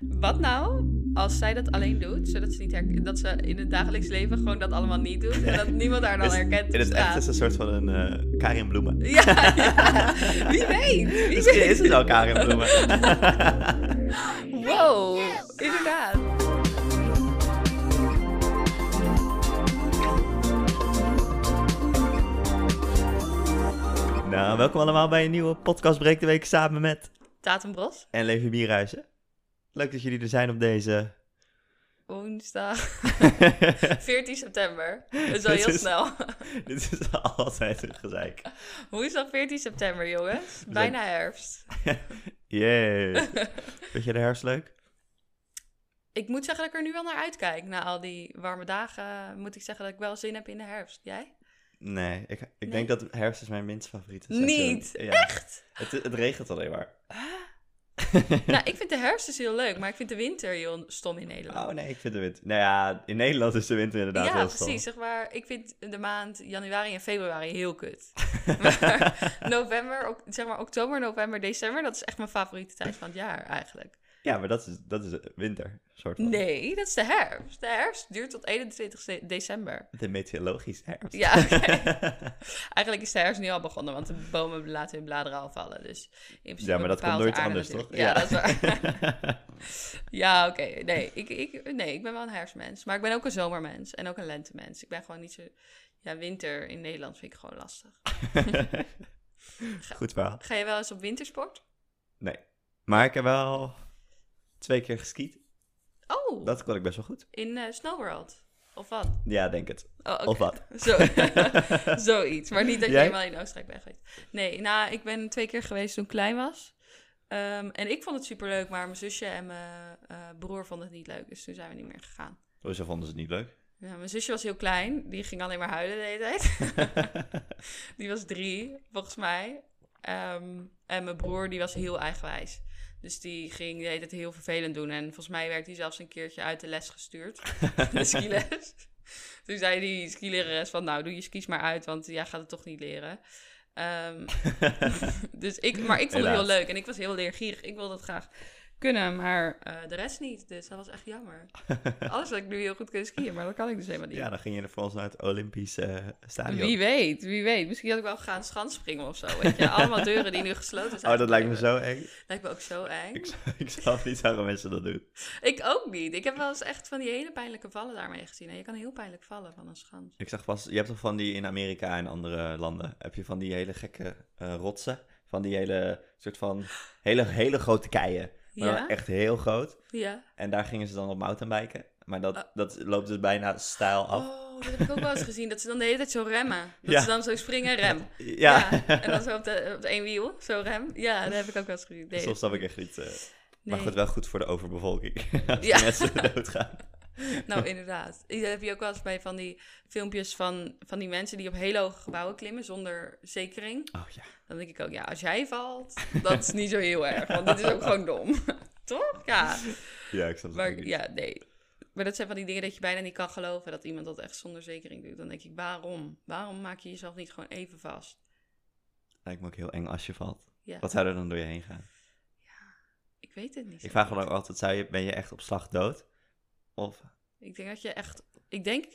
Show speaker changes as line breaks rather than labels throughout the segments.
Wat nou als zij dat alleen doet, zodat ze, niet herk- dat ze in het dagelijks leven gewoon dat allemaal niet doet en dat niemand haar dan
Dus
herkent?
In
op
het echt
straat?
is een soort van een eh, Karin Bloemen.
Ja, ja. wie weet. Wie
Misschien
weet.
is het al Karin Bloemen.
Wow, inderdaad.
nou, welkom allemaal bij een nieuwe podcast Breek de Week samen met
Tatum Bros,
en Levi Bierhuizen. Leuk dat jullie er zijn op deze...
woensdag 14 september. Dat is al
Dit
heel
is-
snel.
Dit is altijd een gezeik.
Woensdag 14 september, jongens. Bijna herfst.
Jee. Vind je de herfst leuk?
Ik moet zeggen dat ik er nu wel naar uitkijk. Na al die warme dagen moet ik zeggen dat ik wel zin heb in de herfst. Jij?
Nee, ik, ik
Nee.
denk dat herfst is mijn minst favoriete seizoen.
Niet?
Ja.
Echt?
Het, het regent alleen maar.
nou, ik vind de herfst dus heel leuk, maar ik vind de winter heel stom in Nederland.
Oh nee, ik vind de winter... Nou ja, in Nederland is de winter inderdaad
ja,
heel stom.
precies. Zeg maar, ik vind de maand januari en februari heel kut. maar november, ok- zeg maar oktober, november, december, dat is echt mijn favoriete tijd van het jaar eigenlijk.
Ja, maar dat is, dat is winter, soort van.
Nee, dat is de herfst. De herfst duurt tot 21 de- december.
De meteorologische herfst.
Ja, oké. Eigenlijk is de herfst nu al begonnen, want de bomen laten hun bladeren al vallen. Dus in principe
Ja, maar dat kan
bepaalt de
nooit
aarde
anders,
natuurlijk.
toch?
Ja, dat is waar. ja, oké. Nee, ik, ik, nee, ik ben wel een herfstmens. Maar ik ben ook een zomermens en ook een lentemens. Ik ben gewoon niet zo... Ja, winter in Nederland vind ik gewoon lastig.
Goed verhaal.
Ga je wel eens op wintersport?
Nee. Maar ik heb wel twee keer geskiet.
Oh,
Dat kon ik best wel goed.
in eh Snowworld. Of wat?
Ja, denk het.
Oh, oké.
Of wat.
Zo, zoiets. Maar niet dat je
Jij?
helemaal in Oostenrijk bent geweest. Nee, nou, ik ben twee keer geweest toen ik klein was. Ehm, en ik vond het superleuk, maar mijn zusje en mijn eh, broer vonden het niet leuk. Dus toen zijn we niet meer gegaan.
Hoezo vonden ze het niet leuk?
Ja, mijn zusje was heel klein. Die ging alleen maar huilen de hele tijd. die was drie, volgens mij. Ehm, en mijn broer, die was heel eigenwijs. Dus die ging de hele tijd heel vervelend doen. En volgens mij werd hij zelfs een keertje uit de les gestuurd. de skiles. Toen zei die skilerares van, nou, doe je skis maar uit, want jij gaat het toch niet leren. Ehm, dus ik, maar ik vond het
Helaas.
heel leuk en ik was heel leergierig. Ik wilde dat graag kunnen, maar eh, de rest niet. Dus dat was echt jammer. Alles wat ik nu heel goed kunnen skiën, maar dat kan ik dus helemaal niet.
Ja, dan ging je er voor ons naar het Olympisch eh, stadion.
wie weet, wie weet. Misschien had ik wel gaan springen of zo. Weet je? Allemaal deuren die nu gesloten zijn.
Oh, dat lijkt me zo eng.
Lijkt me ook zo eng.
Ik
Ik...
zou, ik zou niet zeggen mensen dat doen.
ook niet. Ik heb wel eens echt van die hele pijnlijke vallen daarmee gezien. En je kan heel pijnlijk vallen van een schans.
Ik zag pas, je hebt toch van die in Amerika en andere landen, heb je van die hele gekke eh, rotsen. Van die hele soort van, hele, hele grote keien. Maar dan
Ja?
echt heel groot.
Ja.
En daar gingen ze dan op mountainbiken. Maar dat, dat loopt dus bijna stijl af.
Oh, dat heb ik ook wel eens gezien. Dat ze dan de hele tijd zo remmen. Dat
Ja.
ze dan zo springen en rem.
ja,
En dan zo op, de, op één wiel, zo rem. Ja, dat heb ik ook wel eens gezien. Nee,
soms snap ik echt niet. eh, Maar
nee.
goed, wel goed voor de overbevolking. Als
Ja.
die mensen doodgaan.
Nou, inderdaad. Dat heb je ook wel eens bij van die filmpjes van, van die mensen die op hele hoge gebouwen klimmen zonder zekering.
Oh ja.
Dan denk ik ook, ja, als jij valt, dat is niet zo heel erg. Want dat is ook gewoon dom. Toch? Ja.
Ja, ik snap het ook
Maar
niet.
ja, nee. Maar dat zijn van die dingen dat je bijna niet kan geloven dat iemand dat echt zonder zekering doet. Dan denk ik, waarom? Waarom maak je jezelf niet gewoon even vast?
Lijkt me ook heel eng als je valt.
Ja.
Wat zou er dan door je heen gaan?
Ik weet het niet.
Ik vraag me dan ook altijd, zou je, ben je echt op slag dood? Of,
Ik denk dat je echt... Ik denk,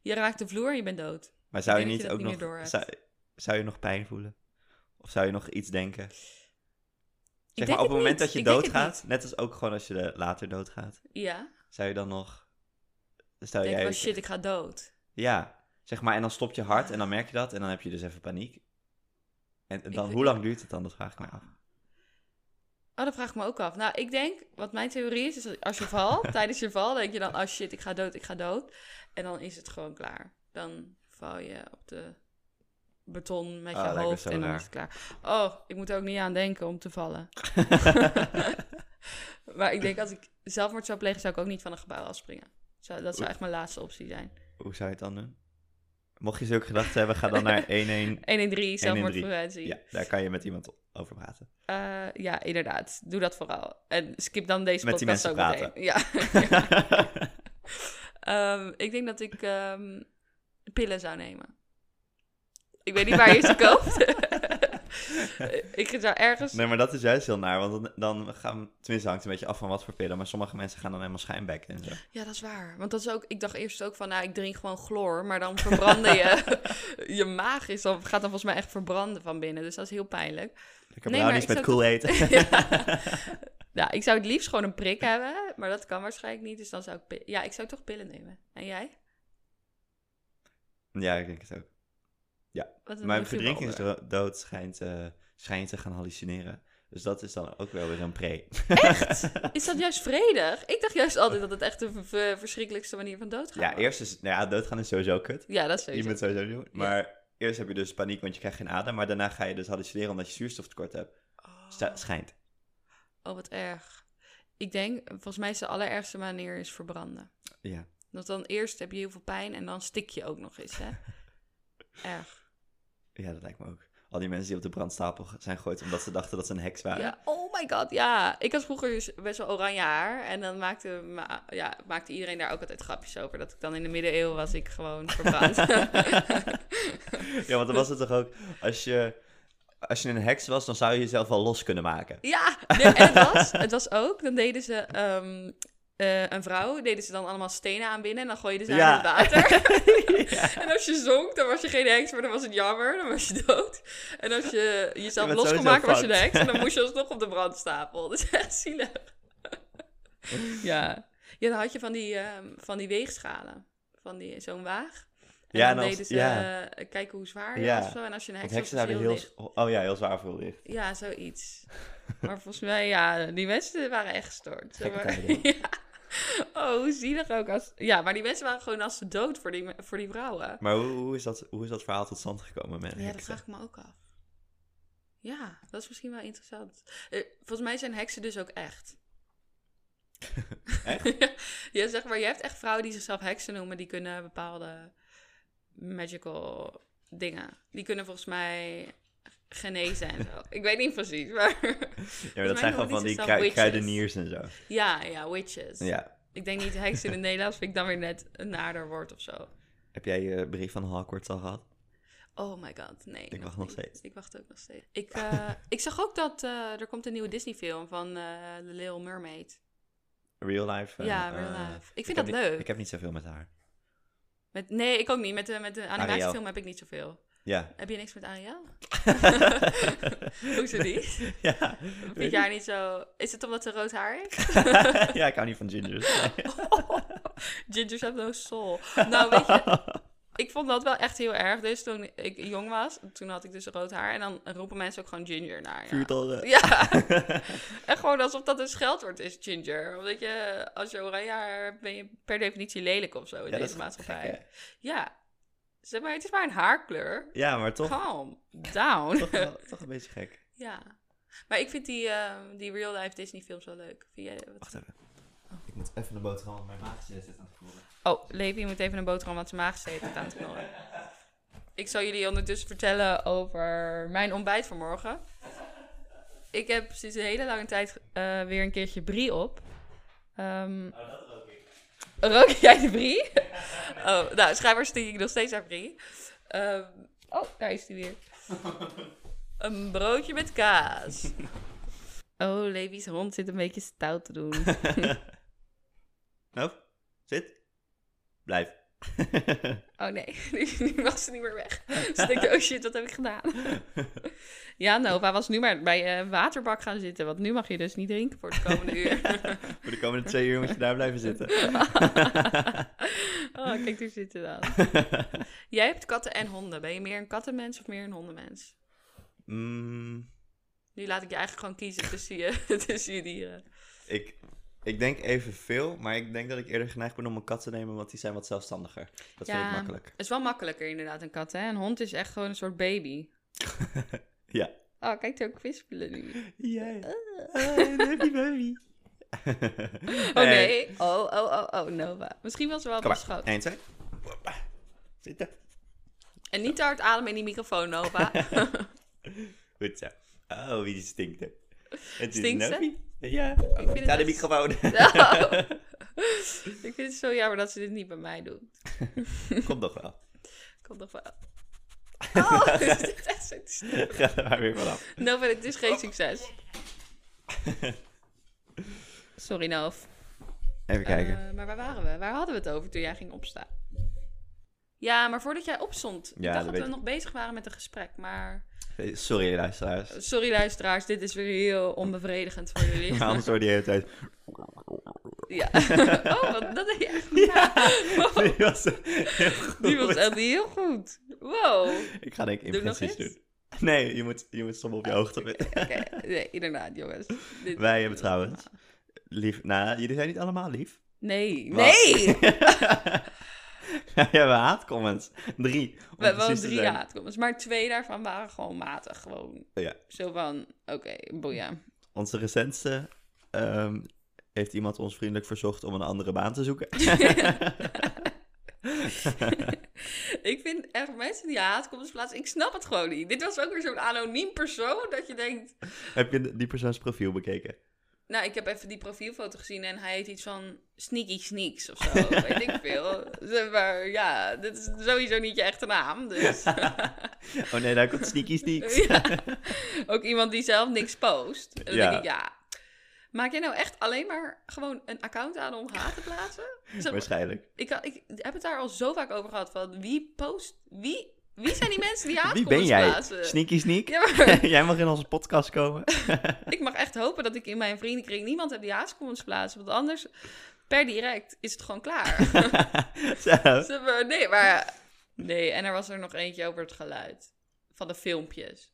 je raakt de vloer en je bent dood.
maar zou je
Ik
niet
denk dat
ook
je dat niet meer
nog...
doorhebt.
Zou, zou je nog pijn voelen? Of zou je nog iets denken? Zeg
denk
maar, op
het
het
niet.
moment dat je
Ik denk het
doodgaat, net als ook gewoon als je eh, later doodgaat,
Ja.
zou je dan nog... Stel
denk ik
Oh, jij...
wel, shit, ik ga dood.
Ja, zeg maar, en dan stopt je hart en dan merk je dat en dan heb je dus even paniek. En en dan,
Ik-
hoe lang duurt het dan? Dat vraag ik me af.
Oh, dat vraag ik me ook af. Nou, ik denk, wat mijn theorie is, is dat als je valt, tijdens je val, denk je dan, oh shit, ik ga dood, ik ga dood. En dan is het gewoon klaar. Dan val je op de beton met
Ah, lijkt
je
me
hoofd
zo
en dan
raar.
is het klaar. Oh, ik moet er ook niet aan denken om te vallen. maar ik denk, als ik zelfmoord zou plegen, zou ik ook niet van een gebouw afspringen. Zou, dat zou echt mijn laatste optie zijn.
Hoe zou je het dan doen? Mocht je zulke gedachten hebben, ga dan naar 1-1.
1 in 3, zelfmoordpreventie.
Ja, daar kan je met iemand over praten.
Eh, ja, inderdaad. Doe dat vooral. En skip dan deze
Met die
podcast
mensen
ook
praten.
meteen. Ja. Ehm, ik denk dat ik ehm, pillen zou nemen. Ik weet niet waar je ze koopt. ik zou ergens...
Nee, maar dat is juist heel naar. Want dan, dan gaan... Tenminste, hangt een beetje af van wat voor pillen. Maar sommige mensen gaan dan helemaal schijnbekken en zo.
Ja, dat is waar. Want dat is ook... Ik dacht eerst ook van, nou, ik drink gewoon chloor. Maar dan verbranden je... je maag is dan, gaat dan volgens mij echt verbranden van binnen. Dus dat is heel pijnlijk.
Lekker
Nee, maar
brownies
ik
met
zou
cool eten.
ja. Nou, ik zou het liefst gewoon een prik hebben. Maar dat kan waarschijnlijk niet. Dus dan zou ik... pi- Ja, ik zou toch pillen nemen. En jij?
ja, ik denk het ook.
Wat een
Mijn
luguber onderwerp.
verdrinkingsdood schijnt, eh, schijnt te gaan hallucineren. Dus dat is dan ook wel weer een pre.
Is dat juist vredig? Ik dacht juist altijd dat het echt de v- v- verschrikkelijkste manier van doodgaan
Ja,
was.
eerst is... Nou ja, doodgaan is sowieso kut.
Ja, dat is
Je
sowieso.
moet sowieso doen. Maar eerst heb je dus paniek, want je krijgt geen adem. Maar daarna ga je dus hallucineren omdat je zuurstoftekort hebt.
Oh.
Sta- schijnt.
Oh, wat erg. Ik denk, volgens mij is de allerergste manier is verbranden.
Ja.
Want dan eerst heb je heel veel pijn en dan stik je ook nog eens, hè? erg.
Ja, dat lijkt me ook. Al die mensen die op de brandstapel ge- zijn gegooid omdat ze dachten dat ze een heks waren.
Ja, oh my god, ja. Ik had vroeger dus best wel oranje haar. En dan maakte, ma- ja, maakte iedereen daar ook altijd grapjes over. Dat ik dan in de middeleeuwen was ik gewoon verbrand.
Ja, want dan was het toch ook, als je, als je een heks was, dan zou je jezelf wel los kunnen maken.
Ja, nee, en het was, het was ook. Dan deden ze ehm, eh, een vrouw, deden ze dan allemaal stenen aan binnen en dan gooiden ze
Ja.
haar in het water. En als je zonk, dan was je geen heks, maar dan was het jammer, dan was je dood. En als je jezelf
bent
los kon
sowieso
maken, was je de
fucked.
heks en dan moest je alsnog op de brandstapel. Dat is echt zielig. Ja. Ja, dan had je van die, ehm, van die weegschalen, van die, zo'n waag. En
Ja,
dan
en als-
deden ze
ja.
eh, kijken hoe zwaar je
Ja.
was of zo. En als je een heks
Want
was,
heksen
was
zouden
je
heel,
dus licht.
oh ja, heel zwaar veel licht.
Ja, zoiets. Maar volgens mij, ja, die mensen waren echt gestoord.
Gekke
Maar-
tijden.
ja. Oh, hoe zielig ook. Als... Ja, maar die mensen waren gewoon als ze dood voor die, voor die vrouwen.
Maar hoe, hoe, is dat, hoe is dat verhaal tot stand gekomen met
Ja, dat
heksen?
vraag ik me ook af. Ja, dat is misschien wel interessant. Eh, volgens mij zijn heksen dus ook echt.
Echt?
ja, zeg maar, je hebt echt vrouwen die zichzelf heksen noemen, die kunnen bepaalde magical dingen. Die kunnen volgens mij genezen en zo. Ik weet niet precies, maar...
Ja, maar dat
mij
zijn
noemen
gewoon
die
van die
zichzelf
krui-
witches.
kruideniers en zo.
Ja, ja, witches.
Ja.
Ik denk niet heks in het Nederlands, vind ik dan weer net een nader woord of zo.
Heb jij je brief van Hogwarts al gehad?
Oh my god, nee. Ik
wacht nog steeds.
Ik wacht ook nog steeds. Ik, eh, ik zag ook dat eh, er komt een nieuwe Disney film van eh The Little Mermaid.
Real life? eh,
ja, real
eh,
life. Ik vind dat
heb niet-
leuk.
Ik heb niet zoveel met haar.
Met, nee, ik ook niet. Met de, met de animatiefilm heb ik niet zoveel.
Ja.
Heb je niks met Ariel? Hoezo niet?
ja.
Vind
weet
jij haar niet zo... Is het omdat ze rood haar heeft?
ik. ja, ik hou niet van
Oh,
gingers.
Gingers have no soul. Nou, weet je, ik vond dat wel echt heel erg. Dus toen ik jong was, toen had ik dus rood haar. En dan roepen mensen ook gewoon ginger naar. je.
Vuurtoren.
Ja. en gewoon alsof dat een scheldwoord is, ginger. Omdat je, als je oranje haar hebt, ben je per definitie lelijk of zo in
Ja, dat
deze
is
maatschappij.
gek, hè?
ja. Zeg maar, het is maar een haarkleur.
Ja, maar toch,
Calm down.
toch, wel- toch een beetje gek.
ja. Maar ik vind die, ehm, die real-life Disney-films wel leuk. Vind jij wat-
Wacht even. Ik moet even de boterham op mijn maag zitten aan het voelen.
Oh, Levi moet even een boterham aan zijn maag zitten aan het knorren. Ik zal jullie ondertussen vertellen over mijn ontbijt vanmorgen. Ik heb sinds een hele lange tijd eh, weer een keertje brie op. Ehm, rook jij de brie? oh, nou, schijnbaar stink ik nog steeds aan brie. Ehm, oh, daar is die weer. Een broodje met kaas. Oh, Levi's hond zit een beetje stout te doen.
Nou, zit. Blijf.
Oh nee, nu, nu mag ze niet meer weg. Dus ik denk, oh shit, wat heb ik gedaan? ja, Nova was nu maar bij eh, een waterbak gaan zitten. Want nu mag je dus niet drinken voor het komende uur.
Voor de komende twee uur moet je daar blijven zitten.
oh, kijk, daar zitten dan. Jij hebt katten en honden. Ben je meer een kattenmens of meer een hondenmens?
Mm,
Nu laat ik je eigenlijk gewoon kiezen tussen je, tussen je dieren.
ik, ik denk evenveel, maar ik denk dat ik eerder geneigd ben om een kat te nemen, want die zijn wat zelfstandiger. Dat vind ik makkelijk.
Het is wel makkelijker inderdaad, een kat. Hè? Een hond is echt gewoon een soort baby.
Ja.
Oh, kijk, er ook kwispelen nu.
Jij. Happy baby.
Oh nee. Oh, oh, oh, oh, Nova. Misschien was ze wel
Kom
op
maar. Eén, twee. Hoppa. Zitten.
En niet te hard ademen in die microfoon, Nova.
Goed zo. Oh, wie stinkt er? Het
Stinkt ze?
Noppie. Ja.
vind het
Daar de
best-
microfoon.
Nou, ik vind het zo jammer dat ze dit niet bij mij doen.
Komt nog wel.
Komt nog wel. Oh, dit is echt zo'n stuk.
Ga er maar weer vanaf.
Nof, het is geen succes. Sorry, Nof.
Even kijken.
Eh, maar waar waren we? Waar hadden we het over toen jij ging opstaan? Ja, maar voordat jij opstond.
Ja,
ik dacht
dat
dat,
weet
we
ik.
nog bezig waren met een gesprek. Maar
Eh, Sorry, luisteraars.
sorry luisteraars, dit is weer heel onbevredigend voor jullie.
Maar anders hoor die hele tijd.
Oh. Ja. oh, wat, dat deed je echt niet na.
Die was heel goed.
Die was echt heel goed. Wow.
Ik ga denk ik
Doe ik nog
impressies
iets? Oh,
doen. Nee, je moet, je moet soms op je hoogte.
Oké, nee, inderdaad, jongens. Dit-
Wij hebben trouwens.
Ah.
Lief. Nou, jullie zijn niet allemaal lief.
Nee,
Wat?
nee!
Wij hebben haatcomments. Drie. om
We hebben wel
precies te
drie
zijn. Oh
haatcomments, maar twee daarvan waren gewoon matig. Gewoon
Ja.
zo van, oké, boeien.
Onze recentste ehm, heeft iemand ons vriendelijk verzocht om een andere baan te zoeken.
Ik vind echt mensen die haatcomments plaatsen, ik snap het gewoon niet. Dit was ook weer zo'n anoniem persoon dat je denkt...
Heb je die persoons profiel bekeken?
Nou, ik heb even die profielfoto gezien en hij heet iets van Sneaky Sneaks of zo. Weet ik veel. Zeg Maar ja, dit is sowieso niet je echte naam, dus...
Oh nee, daar komt sneaky sneaks.
Ja. Ook iemand die zelf niks post. En dan
Ja.
denk ik, ja. Maak jij nou echt alleen maar gewoon een account aan om haat te plaatsen? Zeg maar,
Waarschijnlijk.
ik, kan- ik heb het daar al zo vaak over gehad. Van wie post... Wie, wie zijn die mensen die haat
Wie ben jij?
plaatsen?
Sneaky sneak?
Ja, maar
Jij mag in onze podcast komen.
ik mag echt hopen dat ik in mijn vriendenkring niemand heb die haatcomments plaatsen. Want anders, per direct, is het gewoon klaar.
Zo.
Zeg maar, nee, maar... Nee, en er was er nog eentje over het geluid. Van de filmpjes.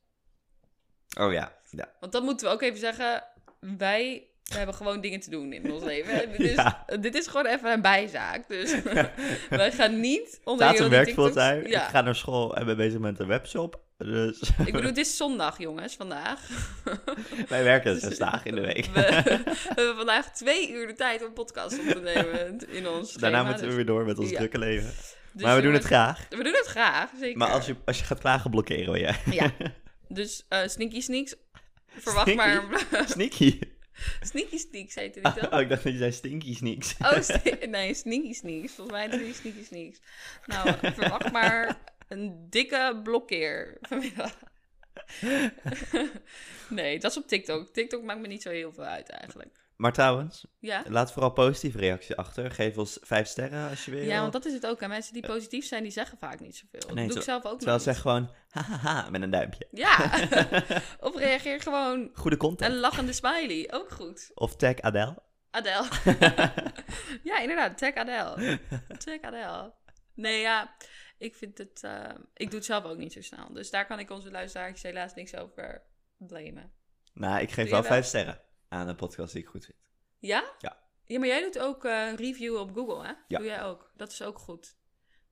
Oh ja. ja.
Want dat moeten we ook even zeggen. Wij hebben gewoon dingen te doen in ons leven. Dit is,
Ja.
dit is gewoon even een bijzaak. Dus wij gaan niet onder
Staat
heel
een
die
werkveld
TikToks-
uit.
Ja.
Ik ga naar school en ben bezig met een webshop. Dus
Ik bedoel, het is zondag, jongens, vandaag.
wij werken zes dagen in de week.
Dus- We, we hebben vandaag twee uur de tijd om een podcast op te nemen in ons
Daarna
schema,
moeten we
dus-
weer door met ons
Ja.
drukke leven.
dus
maar we doen het
jongens,
graag.
We doen het graag, zeker.
Maar als je, als je gaat klagen, blokkeren we je.
Ja. Dus eh, Sneaky Sneaks, verwacht
Sneaky?
maar...
Sneaky.
sneaky Sneaks heette dit wel.
Oh, ik dacht dat je zei stinky sneaks.
Oh, ste- nee, sneaky sneaks. Volgens mij drie sneaky sneaks. Nou, verwacht maar een dikke blokkeer vanmiddag. nee, dat is op TikTok. TikTok maakt me niet zo heel veel uit eigenlijk.
Maar trouwens,
Ja?
laat vooral positieve reactie achter. Geef ons vijf sterren als je wil.
Ja, want dat is het ook. Hè. Mensen die positief zijn, die zeggen vaak niet zoveel. Dat
Nee,
doe ik
ter-
zelf ook
Terwijl
niet.
zeg gewoon, hahaha, met een duimpje.
Ja, of reageer gewoon
Goede content.
een lachende smiley. Ook goed.
Of tag Adele.
Adele. ja, inderdaad. Tag Adele. Tag Adele. Nee, ja. Ik vind het... eh, ik doe het zelf ook niet zo snel. Dus daar kan ik onze luisteraars helaas niks over blamen.
Nou, ik geef
je
wel
wel?
vijf sterren aan de podcast die ik goed vind.
Ja?
Ja.
Ja, maar jij doet ook eh review op Google, hè?
Ja.
Doe jij ook. Dat is ook goed.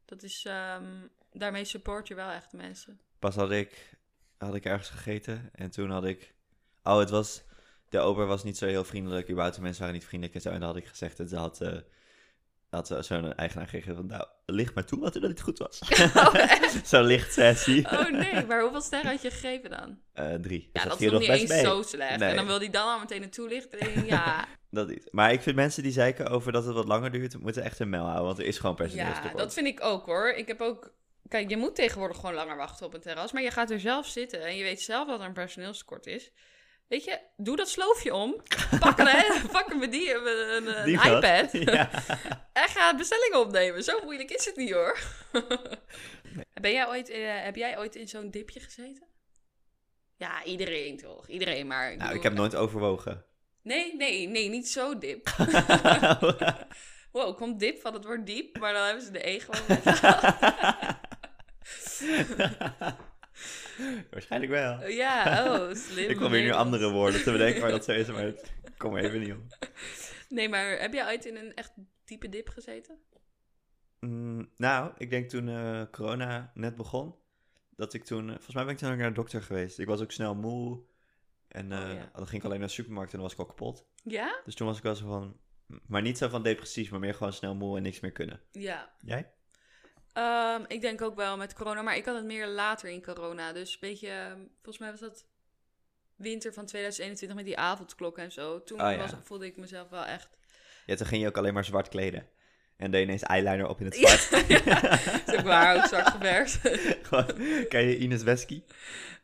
Dat is... ehm, daarmee support je wel echt mensen.
Pas had ik, had ik ergens gegeten en toen had ik... Oh, het was... De ober was niet zo heel vriendelijk. Überhaupt, de mensen waren niet vriendelijk en zo. En dan had ik gezegd en ze had... eh had eh, zo'n eigenaar gegeven van, nou, licht maar toe wat er dat het goed was.
Oh, echt?
Zo'n licht sessie.
Oh nee, maar hoeveel sterren had je gegeven dan?
Eh, drie. Dus
Ja, dat
viel
is nog niet
best
eens
mee.
zo slecht.
Nee.
En dan wil die dan al meteen een toelichting. Ja,
Dat niet. Maar ik vind mensen die zeiken over dat het wat langer duurt, moeten echt een mail houden. Want er is gewoon
Ja,
personeelstekort.
dat vind ik ook hoor. Ik heb ook. Kijk, je moet tegenwoordig gewoon langer wachten op een terras. Maar je gaat er zelf zitten en je weet zelf dat er een personeelstekort is. Weet je, doe dat sloofje om. Pak een, hele- pak een die een, een,
Die wat?
iPad.
Ja.
En ga bestellingen opnemen. Zo moeilijk is het niet hoor. Ben jij ooit, eh, heb jij ooit in zo'n dipje gezeten? Ja, iedereen toch? Iedereen maar. ik
Nou, ik
bedoel-
heb nooit overwogen.
Nee, nee, nee, niet zo dip. Wow, komt dip van het woord diep, maar dan hebben ze de E gewoon weggehaald.
Waarschijnlijk wel.
Ja, oh, slim.
Ik probeer nu
Nederlands.
andere woorden te bedenken waar dat zo is, maar het kom even niet op.
Nee, maar heb jij ooit in een echt diepe dip gezeten?
Mm, nou, ik denk toen eh, corona net begon, dat ik toen... eh, volgens mij ben ik toen ook naar de dokter geweest. Ik was ook snel moe. En eh,
Oh, ja.
dan ging ik alleen naar de supermarkt en dan was ik al kapot.
Ja?
Dus toen was ik wel zo van... Maar niet zo van depressief, maar meer gewoon snel moe en niks meer kunnen.
Ja.
Jij?
Ehm, ik denk ook wel met corona, maar ik had het meer later in corona. Dus een beetje, ehm, volgens mij was dat winter van 2021 met die avondklok en zo. Toen
Ah, ja.
was, voelde ik mezelf wel echt...
Ja, toen ging je ook alleen maar zwart kleden. En deed ineens eyeliner op in het zwart.
Dat is ook waar, ook zwart geverfd.
Gewoon, ken je Ines Wesky?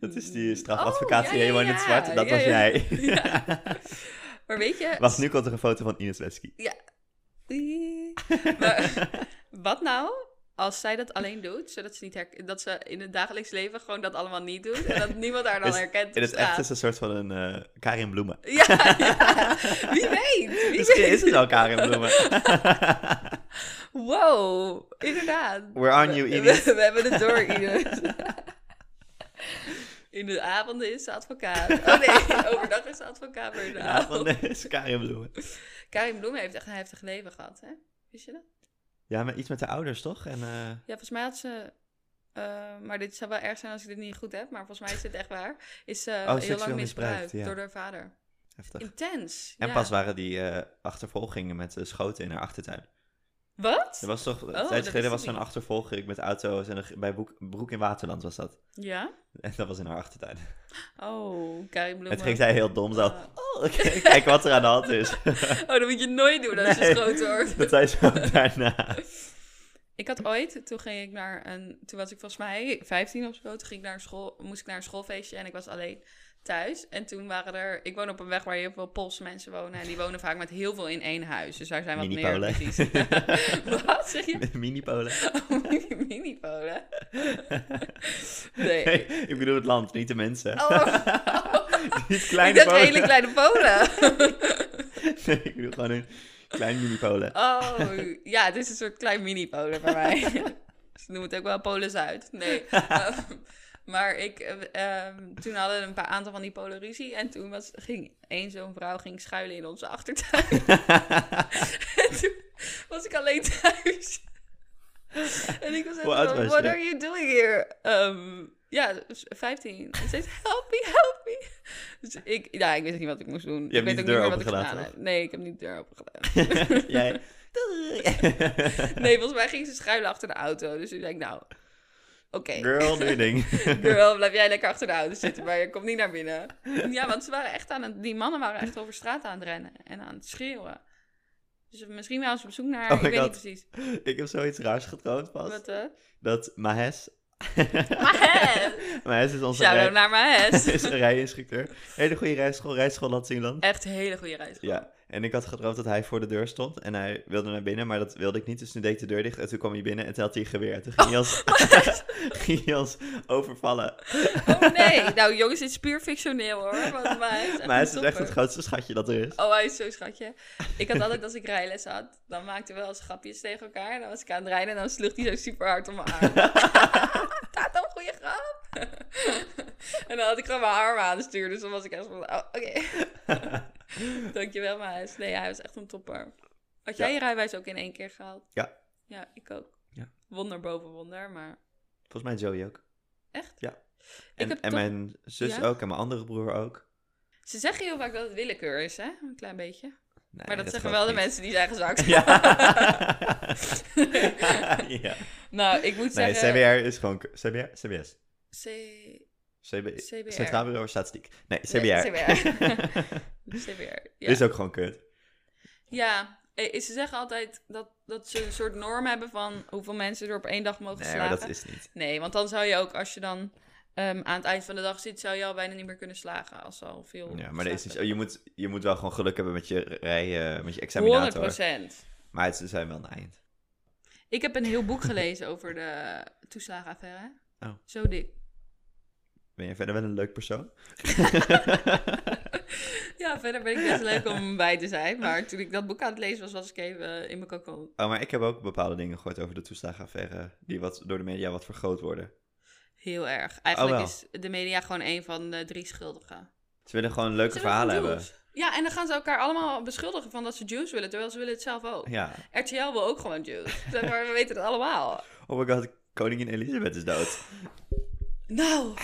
Dat is die strafadvocaat
Oh,
die
ja, ja,
helemaal in het
ja.
zwart. Dat
Ja,
was
ja.
jij.
Ja. Maar weet je...
Wacht, nu komt er een foto van Ines Wesky.
Oei. Maar wat nou als zij dat alleen doet, zodat ze, niet herk- dat ze in het dagelijks leven gewoon dat allemaal niet doet en dat niemand haar dan
Is-
herkent op
In het echt
straat?
is een soort van een eh, Karin Bloemen.
Ja, ja. wie weet, wie
Misschien
weet.
is het wel Karin Bloemen.
Wow, inderdaad.
We're on you,
We-
Ines.
We, we hebben het door, Ines. In de avonden is ze advocaat. Oh nee, overdag is ze advocaat, maar in de
Ja, van
avond.
eh, is Karin Bloemen.
Karin Bloemen heeft echt een heftig leven gehad, hè? Wist je dat?
Ja, maar iets met de ouders, toch? En, eh,
Ja, volgens mij had ze. eh, maar dit zou wel erg zijn als ik dit niet goed heb, maar volgens mij is dit echt waar. Is ze heel
Oh, seksueel
lang
misbruikt,
misbruikt
ja.
door haar vader.
heftig.
Intens.
En
ja.
pas waren die eh, achtervolgingen met eh, schoten in haar achtertuin.
Wat?
Er was toch, een
Oh, dat
tijd
wist ik
geleden was zo'n
niet.
achtervolging met auto's en er- bij Broek, Broek in Waterland was dat.
Ja?
En dat was in haar achtertuin.
Oh, Karin Bloemen.
Het ging zij heel dom zo.
Ja.
Oh, k- kijk wat er aan de hand is.
Oh, dat moet je nooit doen als je
Nee.
schoot hoort.
dat zei ze ook daarna.
Ik had ooit, toen ging ik naar een, toen was ik volgens mij 15 of zo, toen ging ik naar een school, moest ik naar een schoolfeestje en ik was alleen thuis. En toen waren er, ik woon op een weg waar heel veel Poolse mensen wonen en die wonen vaak met heel veel in één huis. Dus daar zijn wat meer
Mini-Polen.
ruzies. Wat zeg je?
Mini-Polen.
Mini-Polen? Nee.
ik bedoel het land, niet de mensen.
Oh,
Niet
ik
kleine
dacht
Polen.
hele kleine Polen.
Nee, ik bedoel gewoon een klein mini-Polen.
Oh, ja, het is een soort klein mini-Polen voor mij. Ze noemen het ook wel Polen-Zuid. Nee. Ehm, maar ik, eh, ehm, toen hadden een paar aantal van die Polen ruzie. En toen was, ging één zo'n vrouw ging schuilen in onze achtertuin. en toen was ik alleen thuis. en ik was echt
Hoe oud
van,
was
what
je?
are you doing here? Ehm, ja, 15. En ze zei, help me, help me. Dus ik, ja, ik weet niet wat ik moest doen.
Je hebt
ik
niet
weet
de
ook
deur
niet meer wat ik
opengelaten,
gedaan
of?
heb. Nee, ik heb niet de deur opengelaten. Oh.
Jij. Doei.
Nee, volgens mij ging ze schuilen achter de auto. Dus ik denk, nou, oké.
Girl, doe je ding.
Girl, blijf jij lekker achter de auto zitten, maar je komt niet naar binnen. Ja, want ze waren echt aan het, die mannen waren echt over straat aan het rennen en aan het schreeuwen. Dus misschien wel eens op zoek naar,
Oh
ik
my
weet
God.
niet precies.
ik heb zoiets raars getroond pas.
Wat, eh?
Dat Mahes.
Mahes!
Mahes is onze
Shout-out
rij,
naar Mahes.
is een rijinstructeur. Hele goede rijschool, rijschool Latsinland.
Echt een hele goede reis.
Ja, en ik had gedroomd dat hij voor de deur stond en hij wilde naar binnen, maar dat wilde ik niet. Dus toen deed ik de deur dicht en toen kwam hij binnen en toen had hij een geweer. Toen ging hij ons, ging hij ons overvallen.
Oh nee, nou jongens, dit is puur fictioneel hoor. Want Mahes is echt
Maar hij is
een
dus echt
topper.
het grootste schatje dat er is.
Oh, hij is zo schatje. Ik had altijd, als ik rijles had, dan maakten we wel eens grapjes tegen elkaar. En dan was ik aan het rijden en dan sloeg hij zo super hard om mijn arm. Taat, een goede grap. en dan had ik gewoon mijn arm aan de stuur. Dus dan was ik echt van, oh, oké. Dankjewel, Maas. Nee, hij was echt een topper. Had jij
Ja.
je rijbewijs ook in één keer gehaald?
Ja.
Ja, ik ook.
Ja.
Wonder boven wonder, maar
Volgens mij Joey ook.
echt.
Ja.
Ik
En,
heb
en
toch-
mijn zus
Ja?
ook en mijn andere broer ook.
Ze zeggen heel vaak dat het willekeur is, hè? Een klein beetje.
Nee,
maar dat, zeggen wel
geloof
de
ik niet.
mensen die zijn gezakt.
Ja. ja.
Nou, ik moet
Nee,
zeggen...
CBR is gewoon... k- CBR? CBS?
C-
CB...
CBR.
Centraal Bureau voor Statistiek. Nee, CBR.
CBR. CBR. Ja.
Is ook gewoon kut.
ja. eh, Ze zeggen altijd dat, dat ze een soort norm hebben van hoeveel mensen er op één dag mogen
Nee, maar
slagen.
dat is niet.
Nee, want dan zou je ook, als je dan ehm, aan het eind van de dag zit, zou je al bijna niet meer kunnen slagen. Als ze al veel.
Ja, maar dat is niet zo.
geslaagd
Je moet, je moet wel gewoon geluk hebben met je, rij, eh, met je
hebben.
examinator.
100%.
Maar het, ze zijn wel een eind.
Ik heb een heel boek gelezen over de toeslagenaffaire.
Oh.
Zo dik.
Ben je verder wel een leuk persoon?
Ja, verder ben ik best leuk om bij te zijn. Maar toen ik dat boek aan het lezen was, was ik even eh, in mijn kokon.
Oh, maar ik heb ook bepaalde dingen gehoord over de toeslagenaffaire. Die wat, door de media wat vergroot worden.
Heel erg. Eigenlijk
Oh, wel.
is de media gewoon een van de drie schuldigen.
Ze willen gewoon leuke
Ze
verhalen
gewoon
hebben.
Jews. Ja, en dan gaan ze elkaar allemaal beschuldigen van dat ze Jews willen, terwijl ze willen het zelf ook.
Ja.
RTL wil ook gewoon Jews. Zeg maar we weten het allemaal.
Oh my god, koningin Elisabeth is dood.
Nou,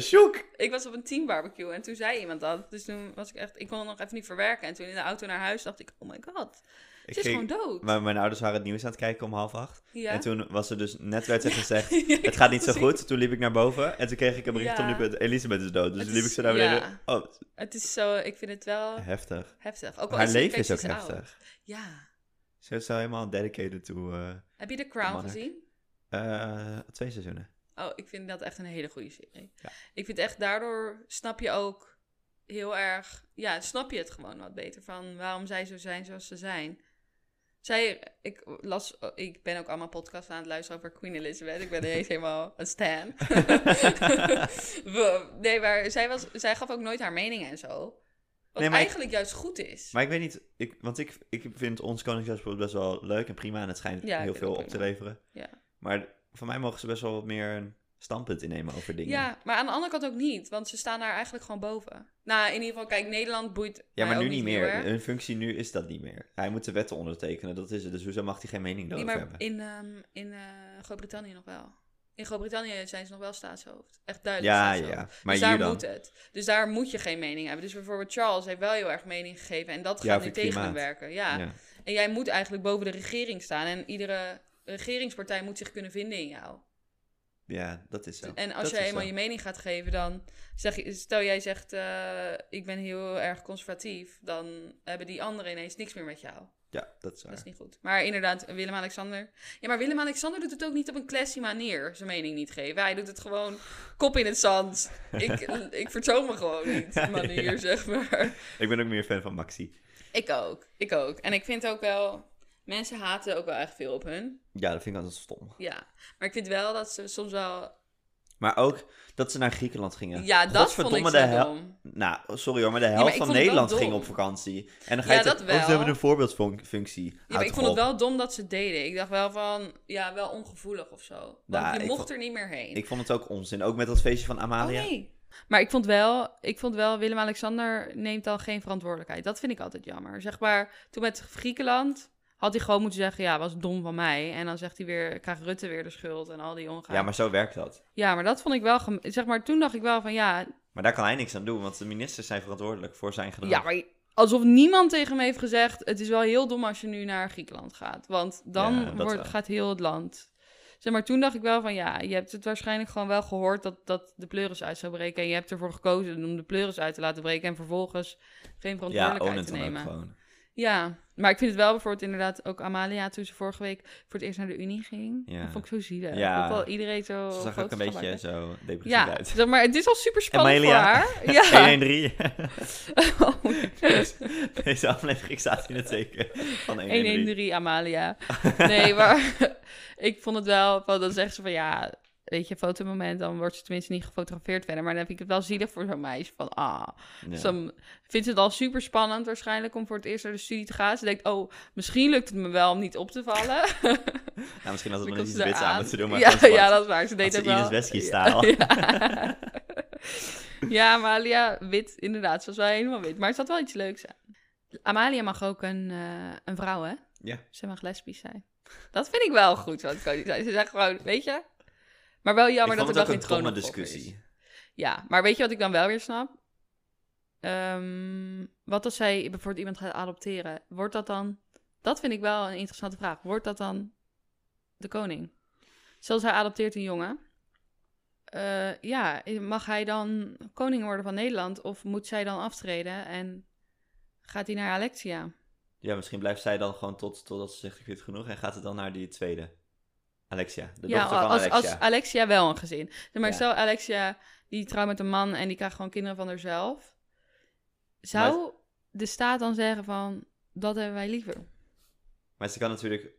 Sjoek!
ik was op een teambarbecue en toen zei iemand dat. Dus toen was ik echt, ik kon het nog even niet verwerken. En toen in de auto naar huis dacht ik, oh my god,
Ik
ze is
ging-
gewoon dood.
Maar mijn ouders waren het nieuws aan het kijken om half acht.
Ja.
En toen was er dus, net werd er gezegd,
Ja, ik
het
had
gaat niet zo
gezien.
goed. Toen liep ik naar boven en toen kreeg ik een bericht
Ja.
om liep het- Elisabeth is dood. Dus
Het
toen liep
is-
ik zo naar beneden.
ja.
Oh,
Het is zo, ik vind het wel
heftig.
heftig. Ook al
Haar
ze-
leven
kijk,
is ook
ze oud.
heftig.
Ja.
Ze is daar helemaal dedicated toe. eh
Heb je The Crown
Monarch.
gezien?
eh, twee seizoenen.
Oh, ik vind dat echt een hele goede serie.
Ja.
Ik vind echt daardoor snap je ook heel erg. Ja, snap je het gewoon wat beter van waarom zij zo zijn zoals ze zijn. Zij, ik las, ik ben ook allemaal podcasts aan het luisteren over Queen Elizabeth. Ik ben ineens helemaal een stan. We- nee, maar zij, was, zij gaf ook nooit haar mening en zo. Wat
Nee, maar ik-
eigenlijk juist goed is.
Maar ik weet niet, ik, want ik, ik vind ons Koningshuisbod best wel leuk en prima. En het schijnt
Ja, ik
heel
vind
veel
het
op te
prima.
leveren.
Ja.
Maar van mij mogen ze best wel wat meer een standpunt innemen over dingen.
ja, maar aan de andere kant ook niet, want ze staan daar eigenlijk gewoon boven. Nou, in ieder geval, kijk, Nederland boeit.
Ja,
mij
maar
ook
nu niet
heel
meer. Eh,
erg.
Hun functie nu is dat niet meer. Hij moet de wetten ondertekenen, dat is het. Dus hoezo mag hij geen mening
Nee,
daarover
maar
hebben?
in, ehm, in eh, Groot-Brittannië nog wel. In Groot-Brittannië zijn ze nog wel staatshoofd. Echt duidelijk
Ja,
staatshoofd.
ja. Maar
dus daar
hier dan?
moet het. Dus daar moet je geen mening hebben. Dus bijvoorbeeld Charles heeft wel heel erg mening gegeven. En dat
Ja,
gaat
over
nu
het
tegen hem
klimaat.
werken. Ja.
Ja.
En jij moet eigenlijk boven de regering staan. En iedere regeringspartij moet zich kunnen vinden in jou.
Ja, dat is zo.
En
Dat
als jij
is
eenmaal
zo.
je mening gaat geven, dan zeg je, stel jij zegt, eh, ik ben heel erg conservatief, dan hebben die anderen ineens niks meer met jou.
Ja, dat is waar.
Dat is niet goed. Maar inderdaad, Willem-Alexander. Ja, maar Willem-Alexander doet het ook niet op een classy manier, zijn mening niet geven. Hij doet het gewoon kop in het zand. Ik, ik vertoon me gewoon niet, die manier,
Ja.
zeg maar.
Ik ben ook meer fan van Maxi.
Ik ook, ik ook. En ik vind ook wel, mensen haten ook wel echt veel op hun.
Ja, dat vind ik altijd stom.
Ja, maar ik vind wel dat ze soms wel...
Maar ook dat ze naar Griekenland gingen.
Ja, dat vond ik
Godverdomme,
zo
de hel-
dom.
Nou, sorry hoor, maar de
maar
helft
ik
van
vond het wel
Nederland
dom.
ging op vakantie. En dan ga je
Ja,
toch-
dat wel.
Oh, ze hebben een voorbeeldfunctie.
Ja, maar ik vond het wel dom dat ze het deden. Ik dacht wel van, ja, wel ongevoelig of zo. Want
Nou,
je
ik
mocht
vond-
er niet meer heen.
Ik vond het ook onzin. Ook met dat feestje van
Oh,
Amalia.
nee. Maar ik vond wel, ik vond wel Willem-Alexander neemt dan geen verantwoordelijkheid. Dat vind ik altijd jammer. Zeg maar, toen met Griekenland had hij gewoon moeten zeggen, ja, was dom van mij. En dan zegt hij weer, krijgt Rutte weer de schuld en al die ongaan.
Ja, maar zo werkt dat.
ja, maar dat vond ik wel, gem- zeg maar, toen dacht ik wel van, ja,
Maar daar kan hij niks aan doen, want de ministers zijn verantwoordelijk voor zijn gedrag.
ja, maar alsof niemand tegen hem heeft gezegd, het is wel heel dom als je nu naar Griekenland gaat. Want dan
Ja, dat
wordt,
wel.
gaat heel het land. Zeg maar, toen dacht ik wel van, ja, je hebt het waarschijnlijk gewoon wel gehoord dat, dat de pleuris uit zou breken. En je hebt ervoor gekozen om de pleuris uit te laten breken en vervolgens geen
ja own
verantwoordelijkheid
it
te
dan ook
nemen.
gewoon.
Ja, maar ik vind het wel bijvoorbeeld inderdaad ook Amalia toen ze vorige week voor het eerst naar de Unie ging.
Ja.
Dat vond ik zo zielig.
Ja.
Dat wel iedereen zo...
Ze zag
foto's
ook een
van
beetje
maken.
zo depressief
Ja,
uit.
zeg maar het is al super spannend voor
Amalia.
haar. Ja.
113.
Oh,
Deze aflevering staat in het teken van 113.
113 Amalia. Nee, maar ik vond het wel, van, dan zegt ze van ja, weet je, fotomoment, dan wordt ze tenminste niet gefotografeerd verder. Maar dan vind ik het wel zielig voor zo'n meisje van ah.
Ja.
Ze vindt het al super spannend waarschijnlijk om voor het eerst naar de studie te gaan. Ze denkt, oh, misschien lukt het me wel om niet op te vallen.
Nou, misschien had het
Dan
nog
komt
niet
ze
iets wits
eraan.
aan moeten doen, maar
ja,
gewoon
ja,
zwart.
dat is waar. Ze deed
Had ze
dat wel.
Ines Wesky
Ja.
staal.
Ja. Ja, Amalia, wit, inderdaad. Ze was wel helemaal wit. Maar het zat wel iets leuks aan. Amalia mag ook een, eh, een vrouw, hè?
Ja.
Ze mag lesbisch zijn. Dat vind ik wel goed, wat Cody zei. Ze zegt gewoon, weet je... Maar wel jammer dat
ik vond
er
het
wel
ook
geen
een domme
troonopvolger is.
discussie.
Ja, maar weet je wat ik dan wel weer snap? Ehm, wat als zij bijvoorbeeld iemand gaat adopteren? Wordt dat dan... Dat vind ik wel een interessante vraag. Wordt dat dan de koning? Zoals hij adopteert een jongen. Eh, ja, mag hij dan koning worden van Nederland? Of moet zij dan aftreden en gaat hij naar Alexia?
Ja, misschien blijft zij dan gewoon tot, totdat ze zegt ik vind het genoeg en gaat het dan naar die tweede. Alexia, de
ja,
dochter van
als,
Alexia.
als Alexia wel een gezin. Zeg maar
Ja.
stel Alexia die trouwt met een man en die krijgt gewoon kinderen van haarzelf. Zou de staat dan zeggen van dat hebben wij liever?
Maar ze kan natuurlijk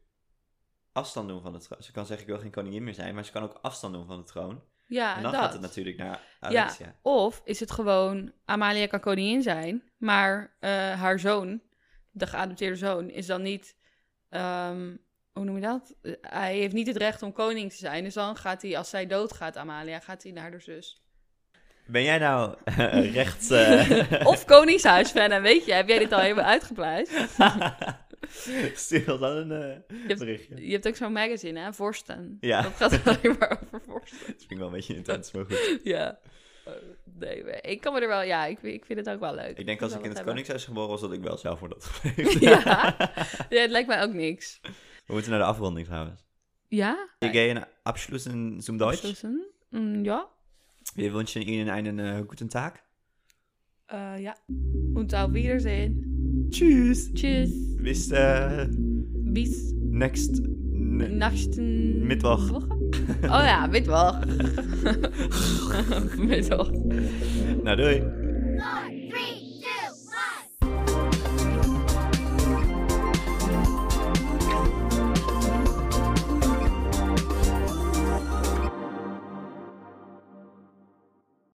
afstand doen van de troon. Ze kan zeggen ik wil geen koningin meer zijn, maar ze kan ook afstand doen van de troon.
Ja,
en dan
dat.
gaat het natuurlijk naar Alexia. Ja,
Of is het gewoon Amalia kan koningin zijn, maar eh, haar zoon, de geadopteerde zoon, is dan niet. ehm, hoe noem je dat? Eh, Hij heeft niet het recht om koning te zijn. Dus dan gaat hij, als zij doodgaat, Amalia, gaat hij naar haar zus.
Ben jij nou eh, rechts... eh,
Of Koningshuisfan, en weet je, heb jij dit al helemaal uitgepleit?
Stuur ons dan een eh,
Je hebt,
berichtje.
je hebt ook zo'n magazine, hè? Vorsten.
Ja.
Dat gaat alleen maar over vorsten.
Dat vind ik wel een beetje intens, maar goed.
Ja. Eh, Nee, maar ik kan me er wel... Ja, ik, ik vind het ook wel leuk.
Ik denk als
wil
ik in
wel
het
wat
koningshuis geboren was, dat ik wel zelf voor dat
hebben.
gepleegd.
Ja. ja, het lijkt mij ook niks.
We moeten naar de afronding trouwens.
Ja?
Ik gehe een abschlussen zum Deutsch.
Abschließen? Mm, ja.
Wir wünschen Ihnen einen eh, guten Tag.
Eh, ja. Und auf Wiedersehen.
Tschüss.
Tschüss.
Bis eh,
Bies.
Next. ne-
Nachten.
Mittwoch.
Oh ja, middag. middag.
Nou, doei.
Bye.